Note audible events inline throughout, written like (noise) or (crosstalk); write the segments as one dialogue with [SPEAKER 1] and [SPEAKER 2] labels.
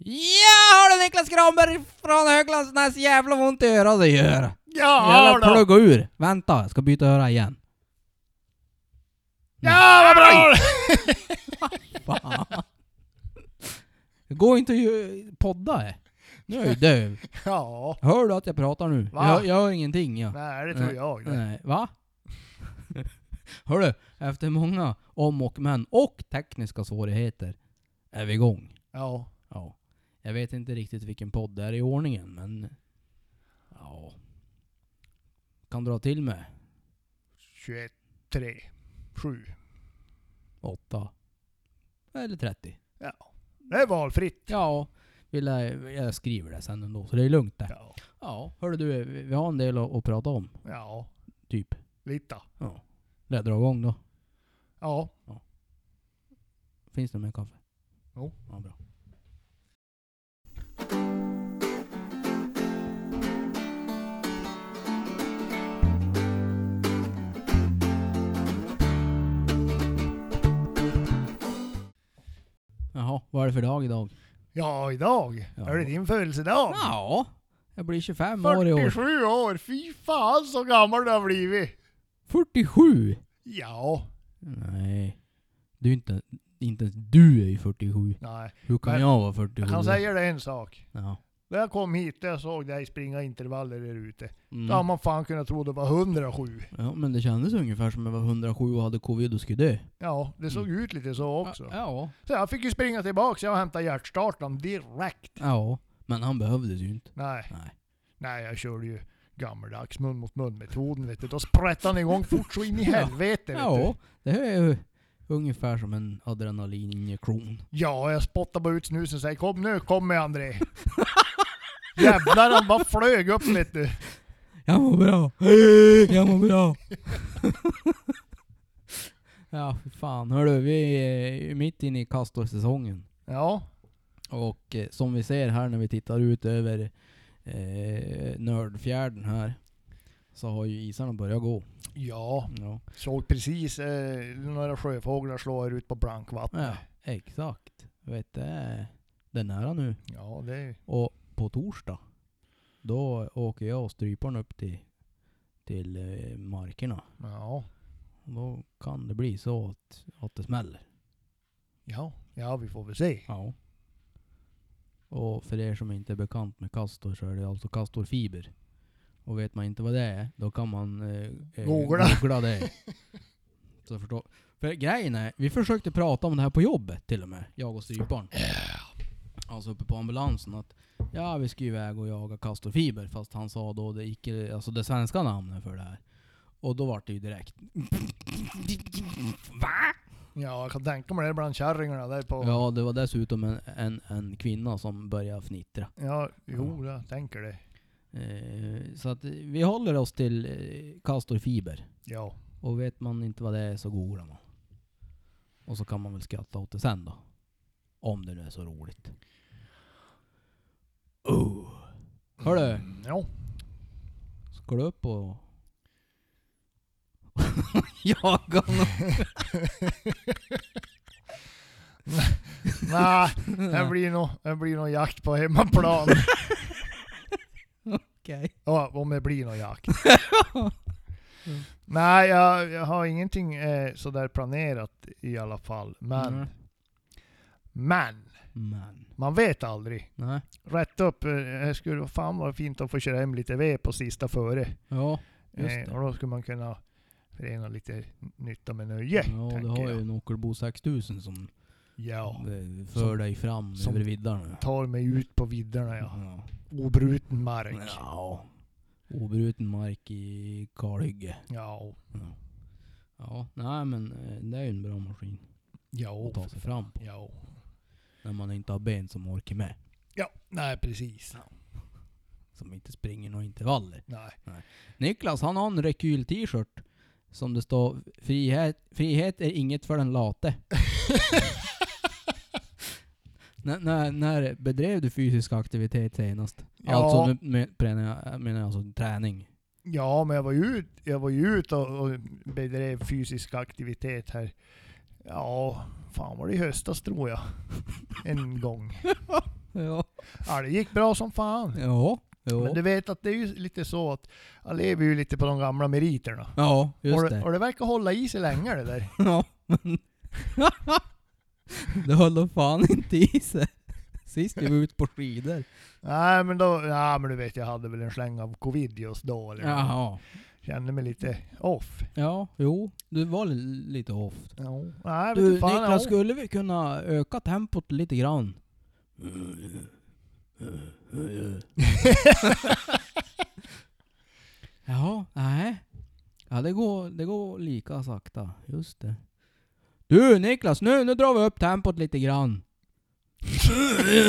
[SPEAKER 1] Ja, har du Niklas Granberg från Höglandsnäs jävla ont i örat det gör.
[SPEAKER 2] Ja
[SPEAKER 1] Jävla
[SPEAKER 2] då!
[SPEAKER 1] plugga ur. Vänta, jag ska byta öra igen.
[SPEAKER 2] Ja vad bra!
[SPEAKER 1] Fan. Det går inte att ju- podda. eh. Nu är jag ju döv.
[SPEAKER 2] Ja,
[SPEAKER 1] Hör du att jag pratar nu?
[SPEAKER 2] Va?
[SPEAKER 1] Jag, jag hör ingenting jag.
[SPEAKER 2] nej det tror jag det.
[SPEAKER 1] Nej, va? Hör du, efter många om och men och tekniska svårigheter är vi igång.
[SPEAKER 2] Ja.
[SPEAKER 1] Ja. Jag vet inte riktigt vilken podd det är i ordningen, men... Ja. Kan dra till med
[SPEAKER 2] 21, 3, 7.
[SPEAKER 1] 8. Eller 30.
[SPEAKER 2] Det är valfritt.
[SPEAKER 1] Ja. Vill jag, jag skriver det sen ändå, så det är lugnt det.
[SPEAKER 2] Ja.
[SPEAKER 1] Ja. Hörru du, vi vi har en del att, att prata om.
[SPEAKER 2] Ja,
[SPEAKER 1] Typ.
[SPEAKER 2] lite.
[SPEAKER 1] Ja. Lär jag dra igång då.
[SPEAKER 2] Ja.
[SPEAKER 1] Finns det mer kaffe?
[SPEAKER 2] Jo.
[SPEAKER 1] Ja, bra. Jaha, vad är det för dag idag?
[SPEAKER 2] Ja, idag
[SPEAKER 1] Ja.
[SPEAKER 2] är det din födelsedag.
[SPEAKER 1] Ja, jag blir 25 år i år.
[SPEAKER 2] 47 år. Fy fan så gammal du har blivit.
[SPEAKER 1] 47?
[SPEAKER 2] Ja.
[SPEAKER 1] Nej. Du är inte, inte ens du är ju 47.
[SPEAKER 2] Nej.
[SPEAKER 1] Hur kan
[SPEAKER 2] Men-
[SPEAKER 1] jag vara 47?
[SPEAKER 2] Jag kan säga dig en sak.
[SPEAKER 1] Ja.
[SPEAKER 2] När jag kom hit och jag såg dig springa intervaller där ute. Då hade
[SPEAKER 1] Mm.
[SPEAKER 2] man fan kunnat tro det var 107.
[SPEAKER 1] ja, men det kändes ungefär som jag var 107 och hade covid och skulle dö.
[SPEAKER 2] Ja, det såg ut lite så också.
[SPEAKER 1] Mm. Ja.
[SPEAKER 2] Så jag fick ju springa tillbaka jag hämtade hjärtstartaren direkt.
[SPEAKER 1] Ja, men han behövdes ju inte.
[SPEAKER 2] Nej,
[SPEAKER 1] Nej.
[SPEAKER 2] nej jag körde ju gammaldags mun mot mun metoden vet du. Då sprättade han igång fort så in i
[SPEAKER 1] (laughs) Ja.
[SPEAKER 2] helvete vet du.
[SPEAKER 1] Ja, det är ju ungefär som en adrenalininjektion.
[SPEAKER 2] Ja, jag spottade bara ut snusen och sa kom nu, kom med André. Jävlar han bara flög upp vet du.
[SPEAKER 1] Jag mår bra! Jag mår bra! (laughs) ja, fy fan. Hörru, vi är ju mitt inne i castorsäsongen.
[SPEAKER 2] Ja,
[SPEAKER 1] Och eh, som vi ser här när vi tittar ut över eh, Nördfjärden här, så har ju isarna börjat gå.
[SPEAKER 2] ja.
[SPEAKER 1] Ja,
[SPEAKER 2] Såg precis eh, några sjöfåglar slå er ut på blankvatten.
[SPEAKER 1] ja exakt. Vet du, det är nära nu.
[SPEAKER 2] Ja, det är
[SPEAKER 1] Och på torsdag, då åker jag och stryparen upp till, till eh, markerna.
[SPEAKER 2] Ja,
[SPEAKER 1] Och då kan det bli så att, att det smäller.
[SPEAKER 2] ja, ja vi får väl se.
[SPEAKER 1] Ja. Och för er som inte är bekant med Castor så är det alltså Castorfiber. Och vet man inte vad det är, då kan man eh, eh,
[SPEAKER 2] Googla.
[SPEAKER 1] googla det. så förstå. För grejen är, vi försökte prata om det här på jobbet till och med, jag och stryparen. Alltså uppe på ambulansen att ja, vi ska iväg och jaga Castorfiber. Fast han sa då det, icke, alltså det svenska namnet för det här. Och då vart det ju direkt... Va?
[SPEAKER 2] Ja, jag kan tänka mig det bland kärringarna där på... Ja,
[SPEAKER 1] Ja, det var dessutom en, en, en kvinna som började fnittra.
[SPEAKER 2] jo, jag tänker det.
[SPEAKER 1] Eh, så att eh, vi håller oss till eh, castorfiber.
[SPEAKER 2] Ja,
[SPEAKER 1] Och vet man inte vad det är så googlar man. Och så kan man väl skratta åt det sen då. Om det nu är så roligt. Oh. Hörru,
[SPEAKER 2] Mm,
[SPEAKER 1] (laughs)
[SPEAKER 2] ja.
[SPEAKER 1] ska du upp och... (laughs) Jaga honom?
[SPEAKER 2] Nej, det blir nog, det blir nog jakt på hemmaplan.
[SPEAKER 1] Okej.
[SPEAKER 2] Ja, om det blir
[SPEAKER 1] (laughs)
[SPEAKER 2] någon jakt. Nej, jag, jag har ingenting eh, sådär planerat i alla fall. Men,
[SPEAKER 1] Mm.
[SPEAKER 2] men,
[SPEAKER 1] Men.
[SPEAKER 2] man vet aldrig.
[SPEAKER 1] Nej.
[SPEAKER 2] Rätt upp, eh, det skulle fan vara fint att få köra hem lite ved på sista före.
[SPEAKER 1] Ja. Just
[SPEAKER 2] Eh,
[SPEAKER 1] det.
[SPEAKER 2] och då skulle man kunna förena lite nytta med nöje,
[SPEAKER 1] ja, du
[SPEAKER 2] tänker
[SPEAKER 1] har ju
[SPEAKER 2] jag.
[SPEAKER 1] en Ockelbo 6000 som
[SPEAKER 2] Ja,
[SPEAKER 1] Det för
[SPEAKER 2] Som-
[SPEAKER 1] dig fram
[SPEAKER 2] som-
[SPEAKER 1] över viddarna.
[SPEAKER 2] tar mig ut på vidderna ja.
[SPEAKER 1] ja.
[SPEAKER 2] Obruten mark.
[SPEAKER 1] ja. Obruten mark i kalhygge.
[SPEAKER 2] Ja,
[SPEAKER 1] Ja. ja, nej men eh, det är ju en bra maskin
[SPEAKER 2] ja,
[SPEAKER 1] att ta sig fram på.
[SPEAKER 2] ja.
[SPEAKER 1] När man inte har ben som orkar med.
[SPEAKER 2] Ja, nej precis.
[SPEAKER 1] Som inte springer några intervaller.
[SPEAKER 2] Nej.
[SPEAKER 1] Niklas han har en rekyl-t-shirt. Som det står frihet, frihet är inget för den
[SPEAKER 2] (laughs)
[SPEAKER 1] late. när, när, när bedrev du fysisk aktivitet senast?
[SPEAKER 2] Ja.
[SPEAKER 1] Alltså nu med- menar jag- menar jag alltså träning.
[SPEAKER 2] Ja, men jag var ju ut, jag var ju ut och, och bedrev fysisk aktivitet här. (laughs) Ja, fan var det i höstas tror jag. En gång.
[SPEAKER 1] Ja.
[SPEAKER 2] Ja, det gick bra som fan.
[SPEAKER 1] Ja.
[SPEAKER 2] Men du
[SPEAKER 1] Jo.
[SPEAKER 2] vet att det är ju lite så att jag lever ju lite på de gamla meriterna.
[SPEAKER 1] Ja, just
[SPEAKER 2] och,
[SPEAKER 1] det.
[SPEAKER 2] och det verkar hålla i sig länge
[SPEAKER 1] (laughs)
[SPEAKER 2] det där.
[SPEAKER 1] Ja, men... det höll då fan inte i sig. Sist vi var ute på skidor.
[SPEAKER 2] Nej men då, ja men du vet jag hade väl en släng av covid just då. Eller
[SPEAKER 1] Jaha.
[SPEAKER 2] Kände mig lite off.
[SPEAKER 1] Ja, jo. Du var li- lite off.
[SPEAKER 2] Ja. Nej,
[SPEAKER 1] Du
[SPEAKER 2] vet du, fan,
[SPEAKER 1] Niklas,
[SPEAKER 2] ja.
[SPEAKER 1] skulle vi kunna öka tempot lite grann? (laughs) Jaha, nej. Ja, det går, det går lika sakta. Just det. Du Niklas, nu, nu drar vi upp tempot lite grann. (laughs)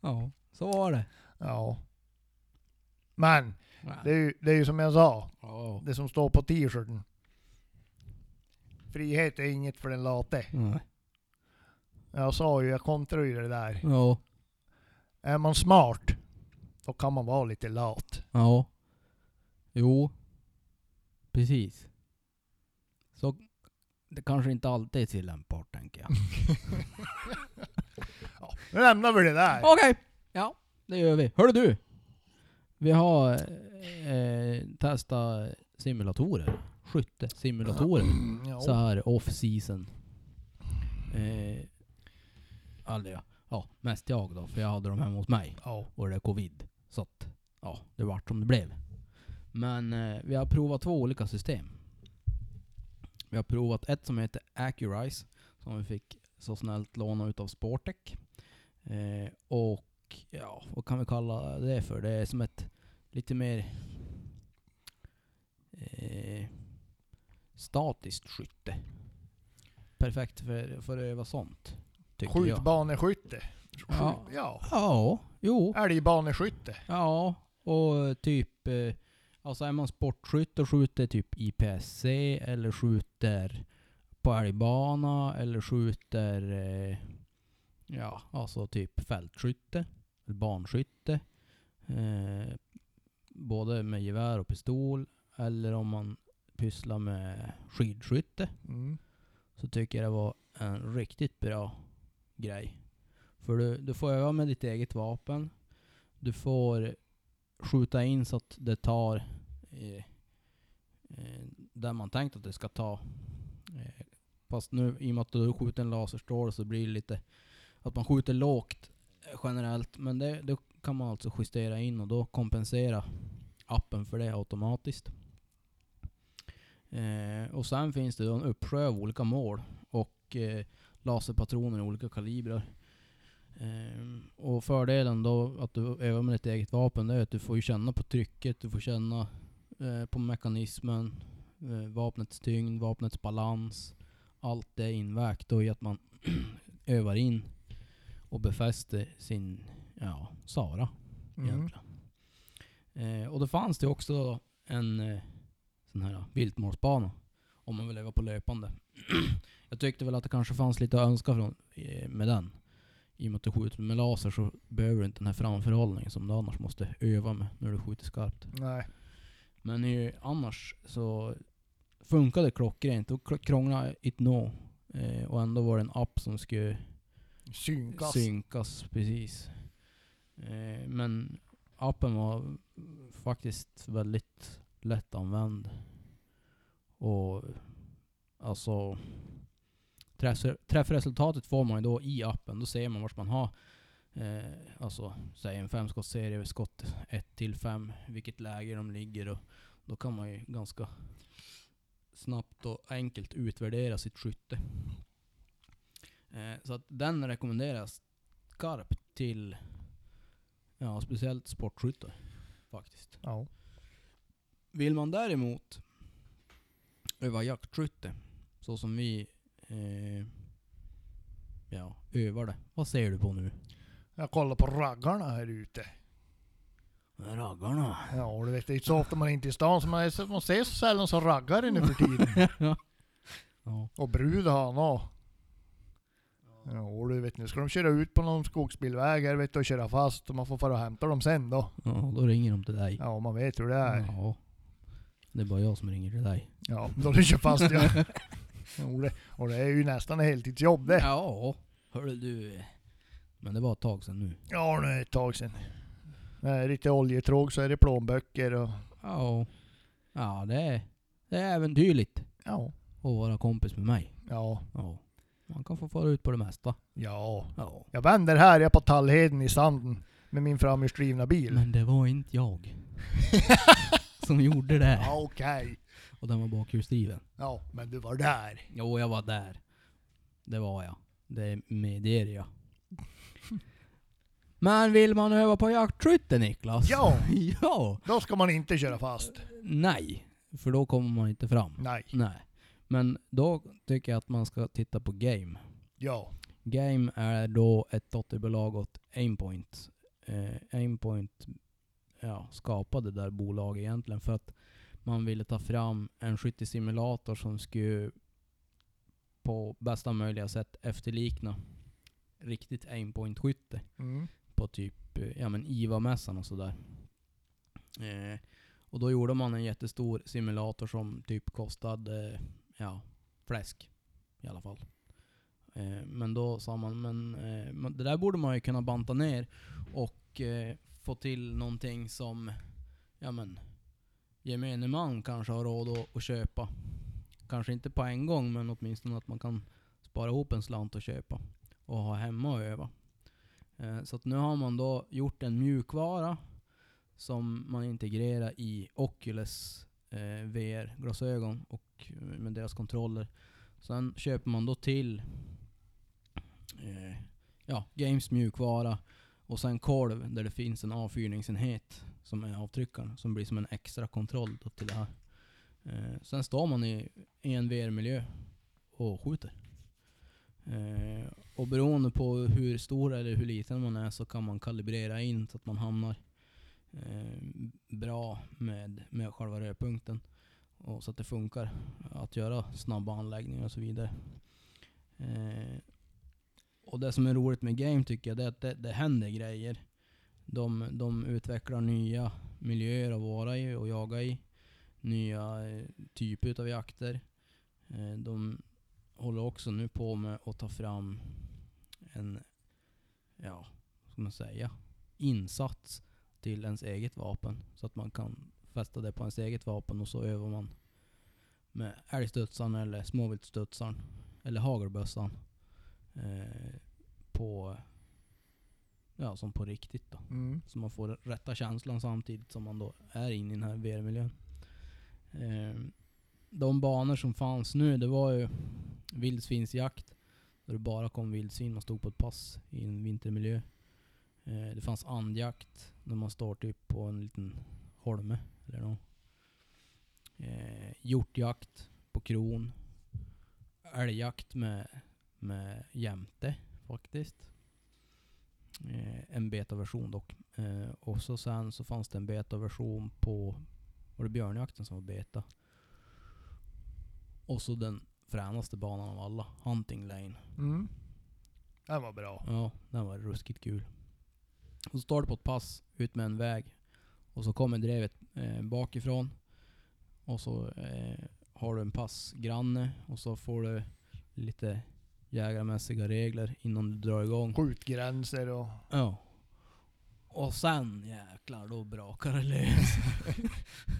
[SPEAKER 1] ja, så var det.
[SPEAKER 2] ja. Men
[SPEAKER 1] Ja.
[SPEAKER 2] det är, ju, det är ju som jag sa,
[SPEAKER 1] Ja.
[SPEAKER 2] det som står på t-shirten. Frihet är inget för den late.
[SPEAKER 1] Nej.
[SPEAKER 2] Jag sa ju, jag kontrar ju det där.
[SPEAKER 1] Ja.
[SPEAKER 2] Är man smart, då kan man vara lite lat.
[SPEAKER 1] Ja. Jo. Precis. Så det kanske inte alltid är tillämpbart tänker jag.
[SPEAKER 2] Nu lämnar vi det där.
[SPEAKER 1] Okej! Ja, det gör vi. Hör du! Vi har eh, testat simulatorer. Skyttesimulatorer.
[SPEAKER 2] Mm, ja.
[SPEAKER 1] Så här off-season. Eh, aldrig jag. Ja, mest jag då. För jag hade dem hemma hos mig.
[SPEAKER 2] Ja.
[SPEAKER 1] och det är covid. Så att, ja, det vart som det blev. Men eh, vi har provat två olika system. Vi har provat ett som heter Accurise, som vi fick så snällt låna utav Sportec. Eh, och ja, vad kan vi kalla det för? Det är som ett lite mer eh, statiskt skytte. Perfekt för, för att öva sånt. Tycker jag.
[SPEAKER 2] Skjutbaneskytte.
[SPEAKER 1] Ja.
[SPEAKER 2] Ja. ja.
[SPEAKER 1] Ja, jo.
[SPEAKER 2] Älgbaneskytte.
[SPEAKER 1] Ja, och typ... eh, Alltså är man sportskytt och skjuter typ IPSC eller skjuter på älgbana eller skjuter... eh, Ja, alltså typ fältskytte. Eller banskytte. Eh, både med gevär och pistol. Eller om man pysslar med skidskytte.
[SPEAKER 2] Mm.
[SPEAKER 1] Så tycker jag det var en riktigt bra grej. För du, du får öva med ditt eget vapen. Du får skjuta in så att det tar eh, eh, där man tänkt att det ska ta. Eh, fast nu i och med att du skjuter en laserstråle så blir det lite att man skjuter lågt eh, generellt. Men det, det kan man alltså justera in och då kompensera appen för det automatiskt. Eh, och sen finns det då en uppsjö av olika mål och eh, laserpatroner i olika kalibrer. Ehm, och fördelen då att du övar med ditt eget vapen det är att du får ju känna på trycket, du får känna eh, på mekanismen, eh, vapnets tyngd, vapnets balans. Allt det är invägt då i att man (clears throat) övar in och befäster sin ja, Sara
[SPEAKER 2] Mm.
[SPEAKER 1] egentligen. Eh, och då fanns det också en eh, sån här viltmålsbana om man vill leva på löpande. (clears throat) jag tyckte väl att det kanske fanns lite att önska från, eh, med den. I och med att du skjuter med laser så behöver du inte den här framförhållningen som du annars måste öva med när du skjuter skarpt.
[SPEAKER 2] Nej.
[SPEAKER 1] Men eh, annars så funkade klockrent och kr- krånglade inte nå. Eh, och ändå var det en app som skulle
[SPEAKER 2] Synkast.
[SPEAKER 1] synkas, precis. Eh, men appen var faktiskt väldigt lättanvänd. Och alltså träffre- träffresultatet får man ju då i appen. Då ser man vart man har eh, alltså säg en femskottsserie, skott 1 till 5, vilket läge de ligger och då kan man ju ganska snabbt och enkelt utvärdera sitt skytte. Eh, så att den rekommenderas skarpt till ja, speciellt sportskyttar faktiskt.
[SPEAKER 2] Ja.
[SPEAKER 1] Vill man däremot öva jaktskytte, så som vi eh, ja, övar det. Vad ser du på nu?
[SPEAKER 2] Jag kollar på raggarna här ute.
[SPEAKER 1] Raggarna.
[SPEAKER 2] Ja, och du vet, det är så ofta man är inte i stan, så man, är, så- man ser så sällan som raggare nu för tiden.
[SPEAKER 1] Ja.
[SPEAKER 2] Och brud har han också. Ja, och du vet, nu ska de köra ut på någon skogsbilväg här, vet du, och köra fast. Och man får fara och hämta dem sen då.
[SPEAKER 1] ja, då ringer de till dig.
[SPEAKER 2] Ja, man
[SPEAKER 1] Mm.
[SPEAKER 2] vet hur det är.
[SPEAKER 1] Ja. Det är bara jag som ringer till dig.
[SPEAKER 2] Ja, då du kör fast ja. Jo, det, och det är ju nästan ett heltidsjobb det.
[SPEAKER 1] Ja, hörru du. eh, Men det var ett tag sedan nu.
[SPEAKER 2] Ja, nu är det ett tag sedan. När det inte är oljetråg så är det plånböcker och...
[SPEAKER 1] Ja, ja det, är, det är äventyrligt
[SPEAKER 2] Ja.
[SPEAKER 1] att vara kompis med mig.
[SPEAKER 2] Ja.
[SPEAKER 1] Ja. Man kan få fara ut på det mesta.
[SPEAKER 2] Ja.
[SPEAKER 1] Ja.
[SPEAKER 2] Jag vänder här, jag är på Tallheden i sanden. Med min framhjulsdrivna bil.
[SPEAKER 1] Men det var inte
[SPEAKER 2] (laughs)
[SPEAKER 1] jag som gjorde det.
[SPEAKER 2] Ja, okej.
[SPEAKER 1] Och den var bakhjulsdriven.
[SPEAKER 2] Ja, men du var där.
[SPEAKER 1] Jo, jag var där. Det var jag. Det medger
[SPEAKER 2] (laughs)
[SPEAKER 1] jag. Men vill man öva på jaktskytte Niklas?
[SPEAKER 2] Ja.
[SPEAKER 1] (laughs) ja!
[SPEAKER 2] Då ska man inte köra fast.
[SPEAKER 1] Nej. För då kommer man inte fram.
[SPEAKER 2] Nej.
[SPEAKER 1] Nej. Men då tycker jag att man ska titta på Game.
[SPEAKER 2] Ja.
[SPEAKER 1] Game är då ett dotterbolag åt Aimpoint. Eh, Aimpoint ja, skapade det där bolaget egentligen för att man ville ta fram en skyttesimulator som skulle på bästa möjliga sätt efterlikna riktigt Aimpoint-skytte
[SPEAKER 2] Mm.
[SPEAKER 1] på typ eh, ja, men IVA-mässan och sådär. Eh, och då gjorde man en jättestor simulator som typ kostade eh, ja, fläsk i alla fall. Eh, men då sa man, men eh, men det där borde man ju kunna banta ner och eh, få till någonting som ja, men, gemene man kanske har råd att, att köpa. Kanske inte på en gång, men åtminstone att man kan spara ihop en slant och köpa och ha hemma och öva. Eh, Så att nu har man då gjort en mjukvara som man integrerar i Oculus eh, VR-glasögon och eh, med deras kontroller. Sen köper man då till eh, ja, Games mjukvara och sen kolv där det finns en avfyrningsenhet som är avtryckaren som blir som en extra kontroll då till det här. Eh, sen står man i, i en VR-miljö och skjuter. Eh, och beroende på hur stor eller hur liten man är så kan man kalibrera in så att man hamnar eh, bra med, med själva rödpunkten. Och så att det funkar att göra snabba anläggningar och så vidare. Eh, och det som är roligt med game tycker jag, det är att det, det händer grejer. De, de utvecklar nya miljöer att vara i och jaga i. Nya eh, typer utav jakter. Eh, de, håller också nu på med att ta fram en, ja, vad ska man säga, insats till ens eget vapen. Så att man kan fästa det på ens eget vapen och så övar man med älgstudsaren eller småviltstudsaren eller hagelbössan. Eh, på, ja som på riktigt då.
[SPEAKER 2] Mm.
[SPEAKER 1] Så man får rätta känslan samtidigt som man då är inne i den här VR-miljön. Ehm, De banor som fanns nu, det var ju vildsvinsjakt. Där det bara kom vildsvin, man stod på ett pass i en vintermiljö. Ehm, Det fanns andjakt, när man står typ på en liten holme eller något. Ehm, Hjortjakt på kron. Älgjakt med, med jämte faktiskt. Ehm, En betaversion dock. Eh, och så sen så fanns det en betaversion på, var det björnjakten som var beta? Och så den fränaste banan av alla, Hunting Lane.
[SPEAKER 2] Mm. Den var bra.
[SPEAKER 1] Ja, den var ruskigt kul. Och så står du på ett pass ut med en väg. Och så kommer drevet eh, bakifrån. Och så eh, har du en passgranne och så får du lite jägarmässiga regler innan du drar igång.
[SPEAKER 2] Skjutgränser och...
[SPEAKER 1] Ja. Och sen jäklar, då brakar det lös. (laughs)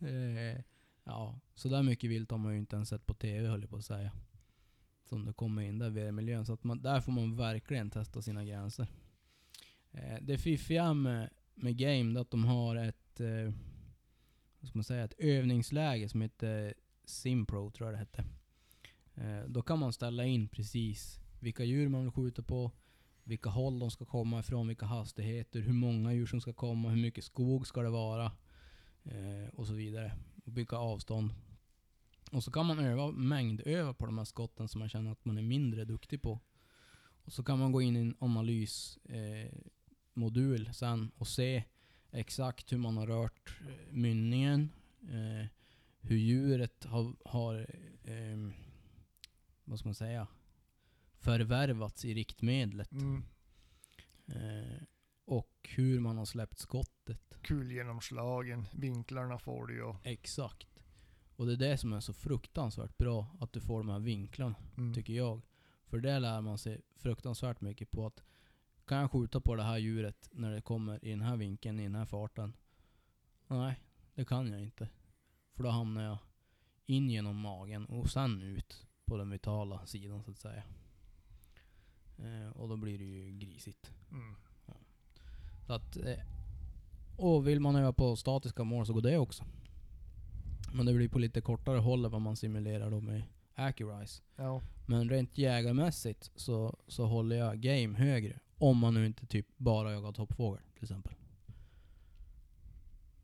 [SPEAKER 1] Eh, ja, så där mycket vilt har man ju inte ens sett på TV höll jag på att säga. Som det kommer in där i VR-miljön. Så att man, där får man verkligen testa sina gränser. Eh, det fiffiga med, med Game det är att de har ett, eh, vad ska man säga, ett övningsläge som heter Simpro tror jag det hette. Eh, då kan man ställa in precis vilka djur man vill skjuta på, vilka håll de ska komma ifrån, vilka hastigheter, hur många djur som ska komma, hur mycket skog ska det vara eh, och så vidare. Och vilka avstånd. Och så kan man öva, mängdöva på de här skotten som man känner att man är mindre duktig på. Och så kan man gå in i en analysmodul eh, modul sen och se exakt hur man har rört eh, mynningen, eh, hur djuret har, har eh, vad ska man säga, förvärvats i riktmedlet.
[SPEAKER 2] Mm.
[SPEAKER 1] Eh, och hur man har släppt skottet.
[SPEAKER 2] Kulgenomslagen, vinklarna får du ju. och-
[SPEAKER 1] Exakt. Och Och det är det som är så fruktansvärt bra, att du får de här vinklarna,
[SPEAKER 2] Mm.
[SPEAKER 1] tycker jag. För det lär man sig fruktansvärt mycket på att kan jag skjuta på det här djuret när det kommer i den här vinkeln, i den här farten? Nej, det kan jag inte. För då hamnar jag in genom magen och sen ut på den vitala sidan så att säga. Eh, och då blir det ju grisigt.
[SPEAKER 2] Mm.
[SPEAKER 1] Så att, eh, och vill man öva på statiska mål så går det också. Men det blir på lite kortare håll än vad man simulerar då med Accurise.
[SPEAKER 2] Ja.
[SPEAKER 1] Men rent jägarmässigt så, så håller jag game högre. Om man nu inte typ bara jagar toppfågel till exempel.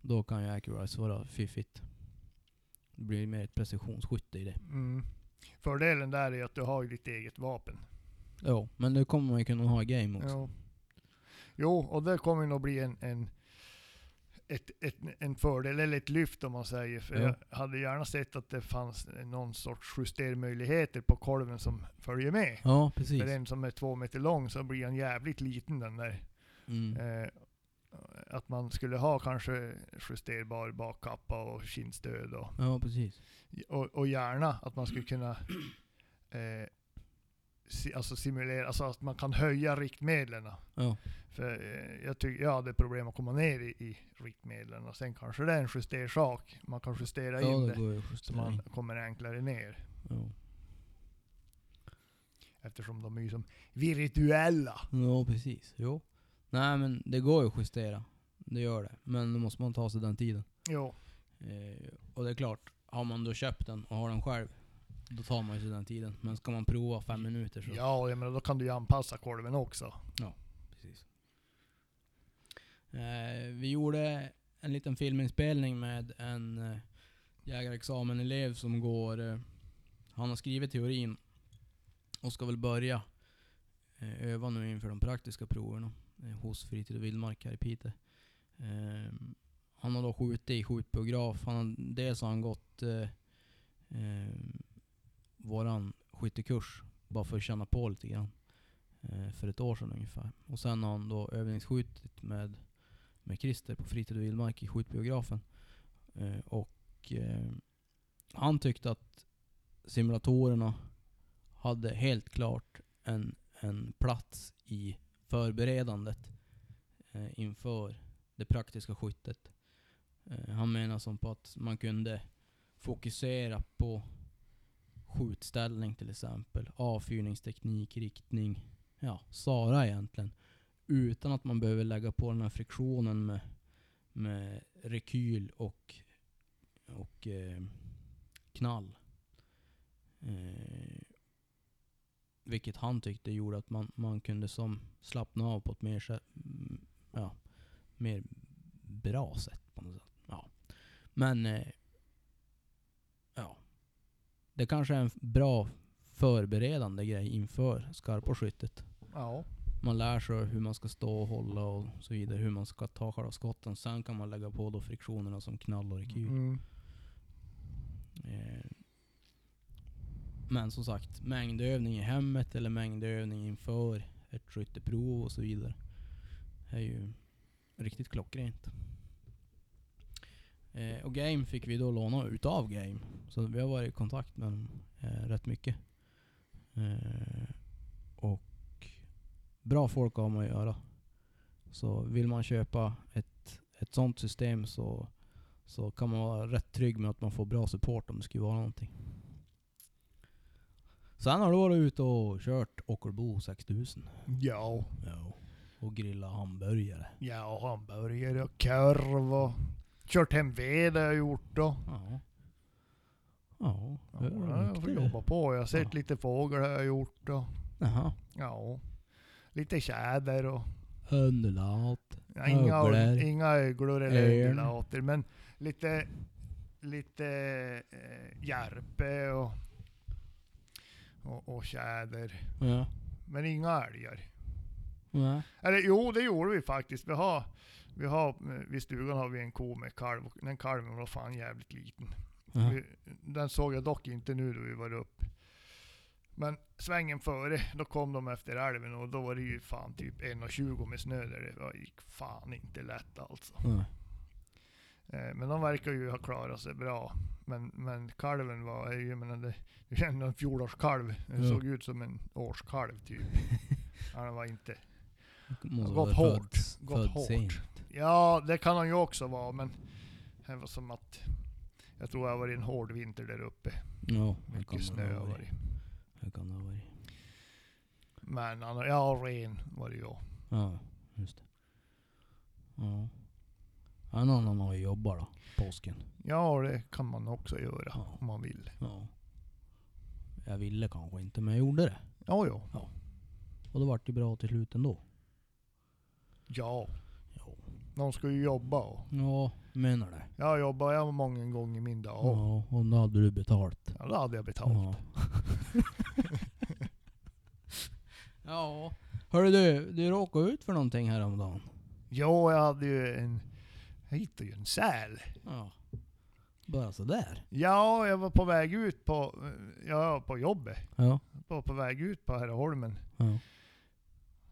[SPEAKER 1] Då kan ju Accurise vara fiffigt. Det blir mer ett precisionsskytte i det.
[SPEAKER 2] Mm. Fördelen där är att du har ju ditt eget vapen.
[SPEAKER 1] Jo, men det kommer man ju kunna ha i game också.
[SPEAKER 2] Ja. Jo, och det kommer nog bli en, en, ett, ett, en fördel, eller ett lyft om man säger. För
[SPEAKER 1] Ja.
[SPEAKER 2] Jag hade gärna sett att det fanns någon sorts justermöjligheter på kolven som följer med.
[SPEAKER 1] Ja, precis.
[SPEAKER 2] För den som är två meter lång så blir han jävligt liten den där.
[SPEAKER 1] Mm.
[SPEAKER 2] Eh, att man skulle ha kanske justerbar bakkappa och kindstöd och
[SPEAKER 1] Ja, precis.
[SPEAKER 2] och, och gärna att man skulle kunna eh, si, alltså simulera, alltså att man kan höja riktmedlen.
[SPEAKER 1] Ja.
[SPEAKER 2] För eh, jag, tycker jag hade problem att komma ner i, i riktmedlen och sen kanske det är en justersak. Man kan justera
[SPEAKER 1] Ja,
[SPEAKER 2] in
[SPEAKER 1] det
[SPEAKER 2] det
[SPEAKER 1] går Mm. ju att
[SPEAKER 2] så
[SPEAKER 1] justera
[SPEAKER 2] man
[SPEAKER 1] in.
[SPEAKER 2] kommer enklare ner.
[SPEAKER 1] Ja.
[SPEAKER 2] Eftersom de är ju som virtuella.
[SPEAKER 1] Ja, precis. Jo. Nej men det går ju att justera. Det gör det. Men då måste man ta sig den tiden.
[SPEAKER 2] Jo,
[SPEAKER 1] Eh, och det är klart, har man då köpt den och har den själv, då tar man ju sig den tiden. Men ska man prova fem minuter så...
[SPEAKER 2] ja och jag menar, då kan du ju anpassa kolven också.
[SPEAKER 1] Precis. Eh, vi gjorde en liten filminspelning med en eh, jägarexamen-elev som går... Eh, han har skrivit teorin och ska väl börja eh, öva nu inför de praktiska proverna eh, hos Fritid och Vildmark här i Piteå. Eh, han har då skjutit i skjutbiograf. Han, har- dels har han gått eh, eh, våran skyttekurs bara för att känna på lite grann eh, för ett år sedan ungefär. Och sen har han då övningsskjutit med, med Christer på Fritid och Vildmark i skjutbiografen. Eh, och eh, han tyckte att simulatorerna hade helt klart en, en plats i förberedandet eh, inför det praktiska skyttet. Eh, han menar som på att man kunde fokusera på skjutställning till exempel, avfyrningsteknik, riktning, ja, Sara egentligen. Utan att man behöver lägga på den här friktionen med, med rekyl och, och eh, knall. Eh, vilket han tyckte gjorde att man, man kunde som slappna av på ett mer, sä- mm, ja, mer bra sätt. På något sätt. Ja. Men eh, ja, det kanske är en bra förberedande grej inför skarpa skyttet.
[SPEAKER 2] Ja.
[SPEAKER 1] Man lär sig hur man ska stå och hålla och så vidare, hur man ska ta själva skotten. Sen kan man lägga på då friktionerna som knall och rekyl.
[SPEAKER 2] Mm.
[SPEAKER 1] Eh, Men som sagt, mängdövning i hemmet eller mängdövning inför ett skytteprov och så vidare. är ju riktigt klockrent. Eh, och Game fick vi då låna utav Game. Så vi har varit i kontakt med dem eh, rätt mycket. Eh, och bra folk har man att göra. Så vill man köpa ett, ett sånt system så så kan man vara rätt trygg med att man får bra support om det skulle vara någonting. Sen har du varit ute och kört Ockelbo 6000.
[SPEAKER 2] Mm. Ja.
[SPEAKER 1] Ja. Och grillat hamburgare.
[SPEAKER 2] Ja, och hamburgare och korv och kört hem ved har jag gjort då.
[SPEAKER 1] Ja. Ja,
[SPEAKER 2] Ja,
[SPEAKER 1] hör du
[SPEAKER 2] jag får
[SPEAKER 1] mycket
[SPEAKER 2] jobba
[SPEAKER 1] det?
[SPEAKER 2] på. Jag har sett
[SPEAKER 1] Ja.
[SPEAKER 2] lite fågel har jag gjort och
[SPEAKER 1] Jaha.
[SPEAKER 2] ja, lite tjäder och
[SPEAKER 1] Underlat.
[SPEAKER 2] ja, inga,
[SPEAKER 1] Öglor.
[SPEAKER 2] inga öglor eller
[SPEAKER 1] Örn.
[SPEAKER 2] undulater men lite, lite eh, järpe och, och, och tjäder.
[SPEAKER 1] Ja.
[SPEAKER 2] Men inga älgar.
[SPEAKER 1] Nej.
[SPEAKER 2] Eller jo, det gjorde vi faktiskt. Vi har, vi har, eh, vid stugan har vi en ko med kalv. och Den kalven var fan jävligt liten.
[SPEAKER 1] Ja.
[SPEAKER 2] Vi, den såg jag dock inte nu då vi var upp. Men svängen före, då kom de efter älven och då var det ju fan typ 1,20 med snö där. Det var- gick fan inte lätt alltså.
[SPEAKER 1] Nej.
[SPEAKER 2] Eh, Men de verkar ju ha klarat sig bra. Men, men kalven var, är ju, jag menar, det det är ändå en fjolårskalv. Den
[SPEAKER 1] Ja.
[SPEAKER 2] såg ut som en årskalv
[SPEAKER 1] (laughs)
[SPEAKER 2] typ. ja, den var inte.
[SPEAKER 1] Måste
[SPEAKER 2] Gått
[SPEAKER 1] vara
[SPEAKER 2] hårt,
[SPEAKER 1] född-
[SPEAKER 2] gått
[SPEAKER 1] född
[SPEAKER 2] hårt.
[SPEAKER 1] sent.
[SPEAKER 2] Ja, det kan han ju också vara, men det var som att jag tror det har varit en hård vinter där uppe.
[SPEAKER 1] Ja, det kan
[SPEAKER 2] Mycket
[SPEAKER 1] det
[SPEAKER 2] snö
[SPEAKER 1] ha
[SPEAKER 2] har
[SPEAKER 1] varit.
[SPEAKER 2] varit.
[SPEAKER 1] Det kan det ha varit.
[SPEAKER 2] Men han, ja, ren var det ju. också.
[SPEAKER 1] Ja, just det. Ja. Ja, någon annan har ju jobbat då, påsken.
[SPEAKER 2] Ja, det kan man också göra
[SPEAKER 1] Ja.
[SPEAKER 2] om man vill.
[SPEAKER 1] Ja. Jag ville kanske inte, men jag gjorde det.
[SPEAKER 2] Ja, ja.
[SPEAKER 1] Och det vart ju bra till slut ändå.
[SPEAKER 2] Ja,
[SPEAKER 1] Ja,
[SPEAKER 2] någon ska ju jobba. och-
[SPEAKER 1] ja menar det.
[SPEAKER 2] Jag jobbar jag många gånger i min dag. och-
[SPEAKER 1] Ja, och då hade du betalt.
[SPEAKER 2] Ja, då hade jag betalt.
[SPEAKER 1] Ja. (laughs) ja. Hörru du, du råkade ut för någonting häromdagen.
[SPEAKER 2] Ja, jag hade ju en... Jag hittade ju en säl.
[SPEAKER 1] Ja. Bara sådär.
[SPEAKER 2] Ja, jag var på väg ut på... Ja, på jobbet.
[SPEAKER 1] Ja.
[SPEAKER 2] Jag var på väg ut på Herreholmen.
[SPEAKER 1] Ja.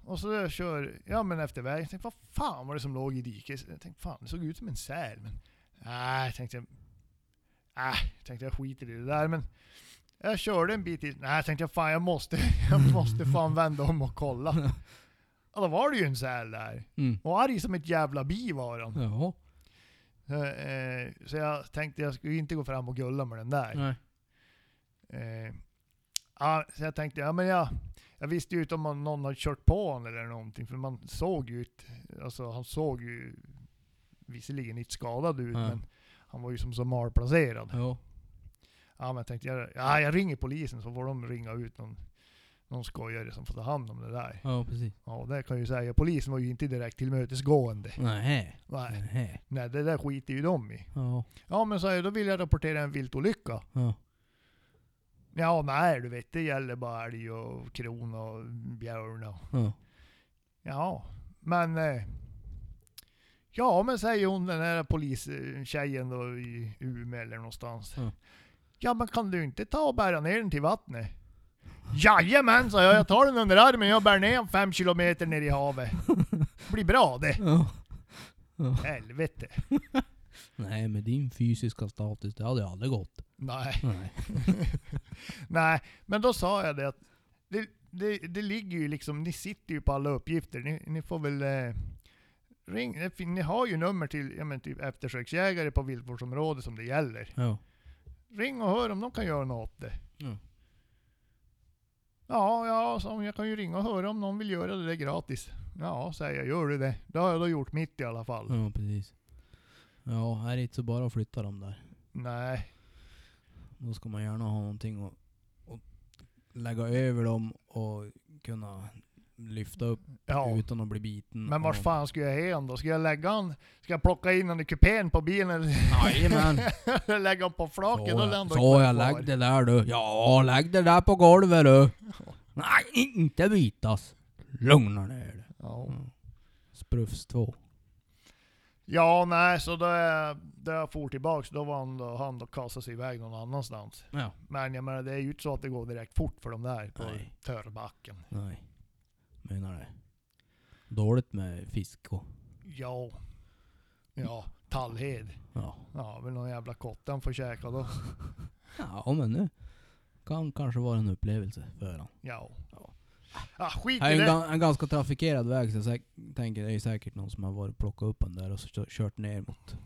[SPEAKER 2] Och så jag kör... Ja, men efter vägen. Jag tänkte, vad fan var det som låg i diket? Jag tänkte, fan det såg ut som en säl. Men... Nej, tänkte jag... Nej, tänkte jag skiter i det där. Men... Jag körde en bit till. Nej, tänkte jag, fan jag måste... (laughs) Jag måste fan vända om och kolla. Och då var det ju en säl där.
[SPEAKER 1] Mm.
[SPEAKER 2] Och arg som ett jävla bi var han.
[SPEAKER 1] Ja.
[SPEAKER 2] Så, eh, så jag tänkte jag skulle inte gå fram och gulla med den där.
[SPEAKER 1] Nej.
[SPEAKER 2] Eh, ja, så jag tänkte, ja men jag, jag visste ju inte om man- någon hade kört på honom eller någonting. För man såg ju, ut, alltså han såg ju visserligen inte skadad ut
[SPEAKER 1] Ja.
[SPEAKER 2] men han var ju som så malplacerad. Ja.
[SPEAKER 1] Ja.
[SPEAKER 2] men jag tänkte, jag, ja, jag ringer polisen så får de ringa ut någon, någon skojare som får ta hand om det där.
[SPEAKER 1] Ja, precis.
[SPEAKER 2] Ja och det kan jag ju säga, polisen var ju inte direkt tillmötesgående.
[SPEAKER 1] Nej.
[SPEAKER 2] Nej,
[SPEAKER 1] Nej.
[SPEAKER 2] nej det där skiter ju de i.
[SPEAKER 1] Ja.
[SPEAKER 2] Ja men så jag, då vill jag rapportera en viltolycka.
[SPEAKER 1] Ja.
[SPEAKER 2] Ja nej du vet, det gäller bara älg och kron och björn och...
[SPEAKER 1] Ja.
[SPEAKER 2] Ja, men... Eh, ja men säger hon den här polistjejen då i Umeå eller någonstans.
[SPEAKER 1] Mm.
[SPEAKER 2] Ja men kan du inte ta och bära ner den till vattnet? Jajamän sa jag, jag tar den under armen jag bär ner den fem kilometer ner i havet. Blir bra det.
[SPEAKER 1] ja.
[SPEAKER 2] Helvete.
[SPEAKER 1] Nej, med din fysiska status, det hade ju aldrig gått.
[SPEAKER 2] Nej.
[SPEAKER 1] Nej.
[SPEAKER 2] Nej, men då sa jag det att det, det, det ligger ju liksom, ni sitter ju på alla uppgifter. Ni, ni får väl eh, ring, det fin- ni har ju nummer till ja, men typ eftersöksjägare på viltvårdsområdet som det gäller.
[SPEAKER 1] Ja.
[SPEAKER 2] Ring och hör om de kan göra något åt det.
[SPEAKER 1] Ja.
[SPEAKER 2] Ja, ja, så jag kan ju ringa och höra om någon vill göra det där gratis. Ja, säger jag, gör du det? Då har jag då gjort mitt i alla fall.
[SPEAKER 1] Ja, precis. Ja, här är det inte så bara att flytta dem där.
[SPEAKER 2] Nej,
[SPEAKER 1] Då ska man gärna ha någonting att, att lägga över dem och kunna lyfta upp
[SPEAKER 2] ja.
[SPEAKER 1] utan att bli biten.
[SPEAKER 2] Men vart
[SPEAKER 1] av-
[SPEAKER 2] fan ska jag ha han då? Ska jag lägga han? Ska jag plocka in han i kupén på bilen eller?
[SPEAKER 1] (laughs)
[SPEAKER 2] (laughs)
[SPEAKER 1] Jajamän!
[SPEAKER 2] lägga dem på
[SPEAKER 1] Så
[SPEAKER 2] flaket och
[SPEAKER 1] jag,
[SPEAKER 2] lämna
[SPEAKER 1] så jag lägg det där du. Ja, lägg det där på golvet du. Nej, inte bitas. Lugna ner dig.
[SPEAKER 2] Ja.
[SPEAKER 1] Mm. Sprufs 2.
[SPEAKER 2] ja, nej, så då jag, då jag for tillbaks, då var han då, han då kastade sig iväg någon annanstans.
[SPEAKER 1] Ja.
[SPEAKER 2] Men jag menar, det är ju inte så att det går direkt fort för de där på
[SPEAKER 1] Nej.
[SPEAKER 2] törrbacken.
[SPEAKER 1] Nej. Menar det. Dåligt med fisk och...
[SPEAKER 2] Ja. Ja, Tallhed.
[SPEAKER 1] Ja.
[SPEAKER 2] Ja, väl någon jävla kotte han får käka då.
[SPEAKER 1] Ja men nu. Kan kanske vara en upplevelse för honom.
[SPEAKER 2] Ja.
[SPEAKER 1] Ja.
[SPEAKER 2] Ja, skit
[SPEAKER 1] Det är
[SPEAKER 2] i
[SPEAKER 1] ju en,
[SPEAKER 2] det.
[SPEAKER 1] ga- en ganska trafikerad väg så jag säk- tänker det är säkert någon som har varit och plockat upp den där och så kö- kört ner mot,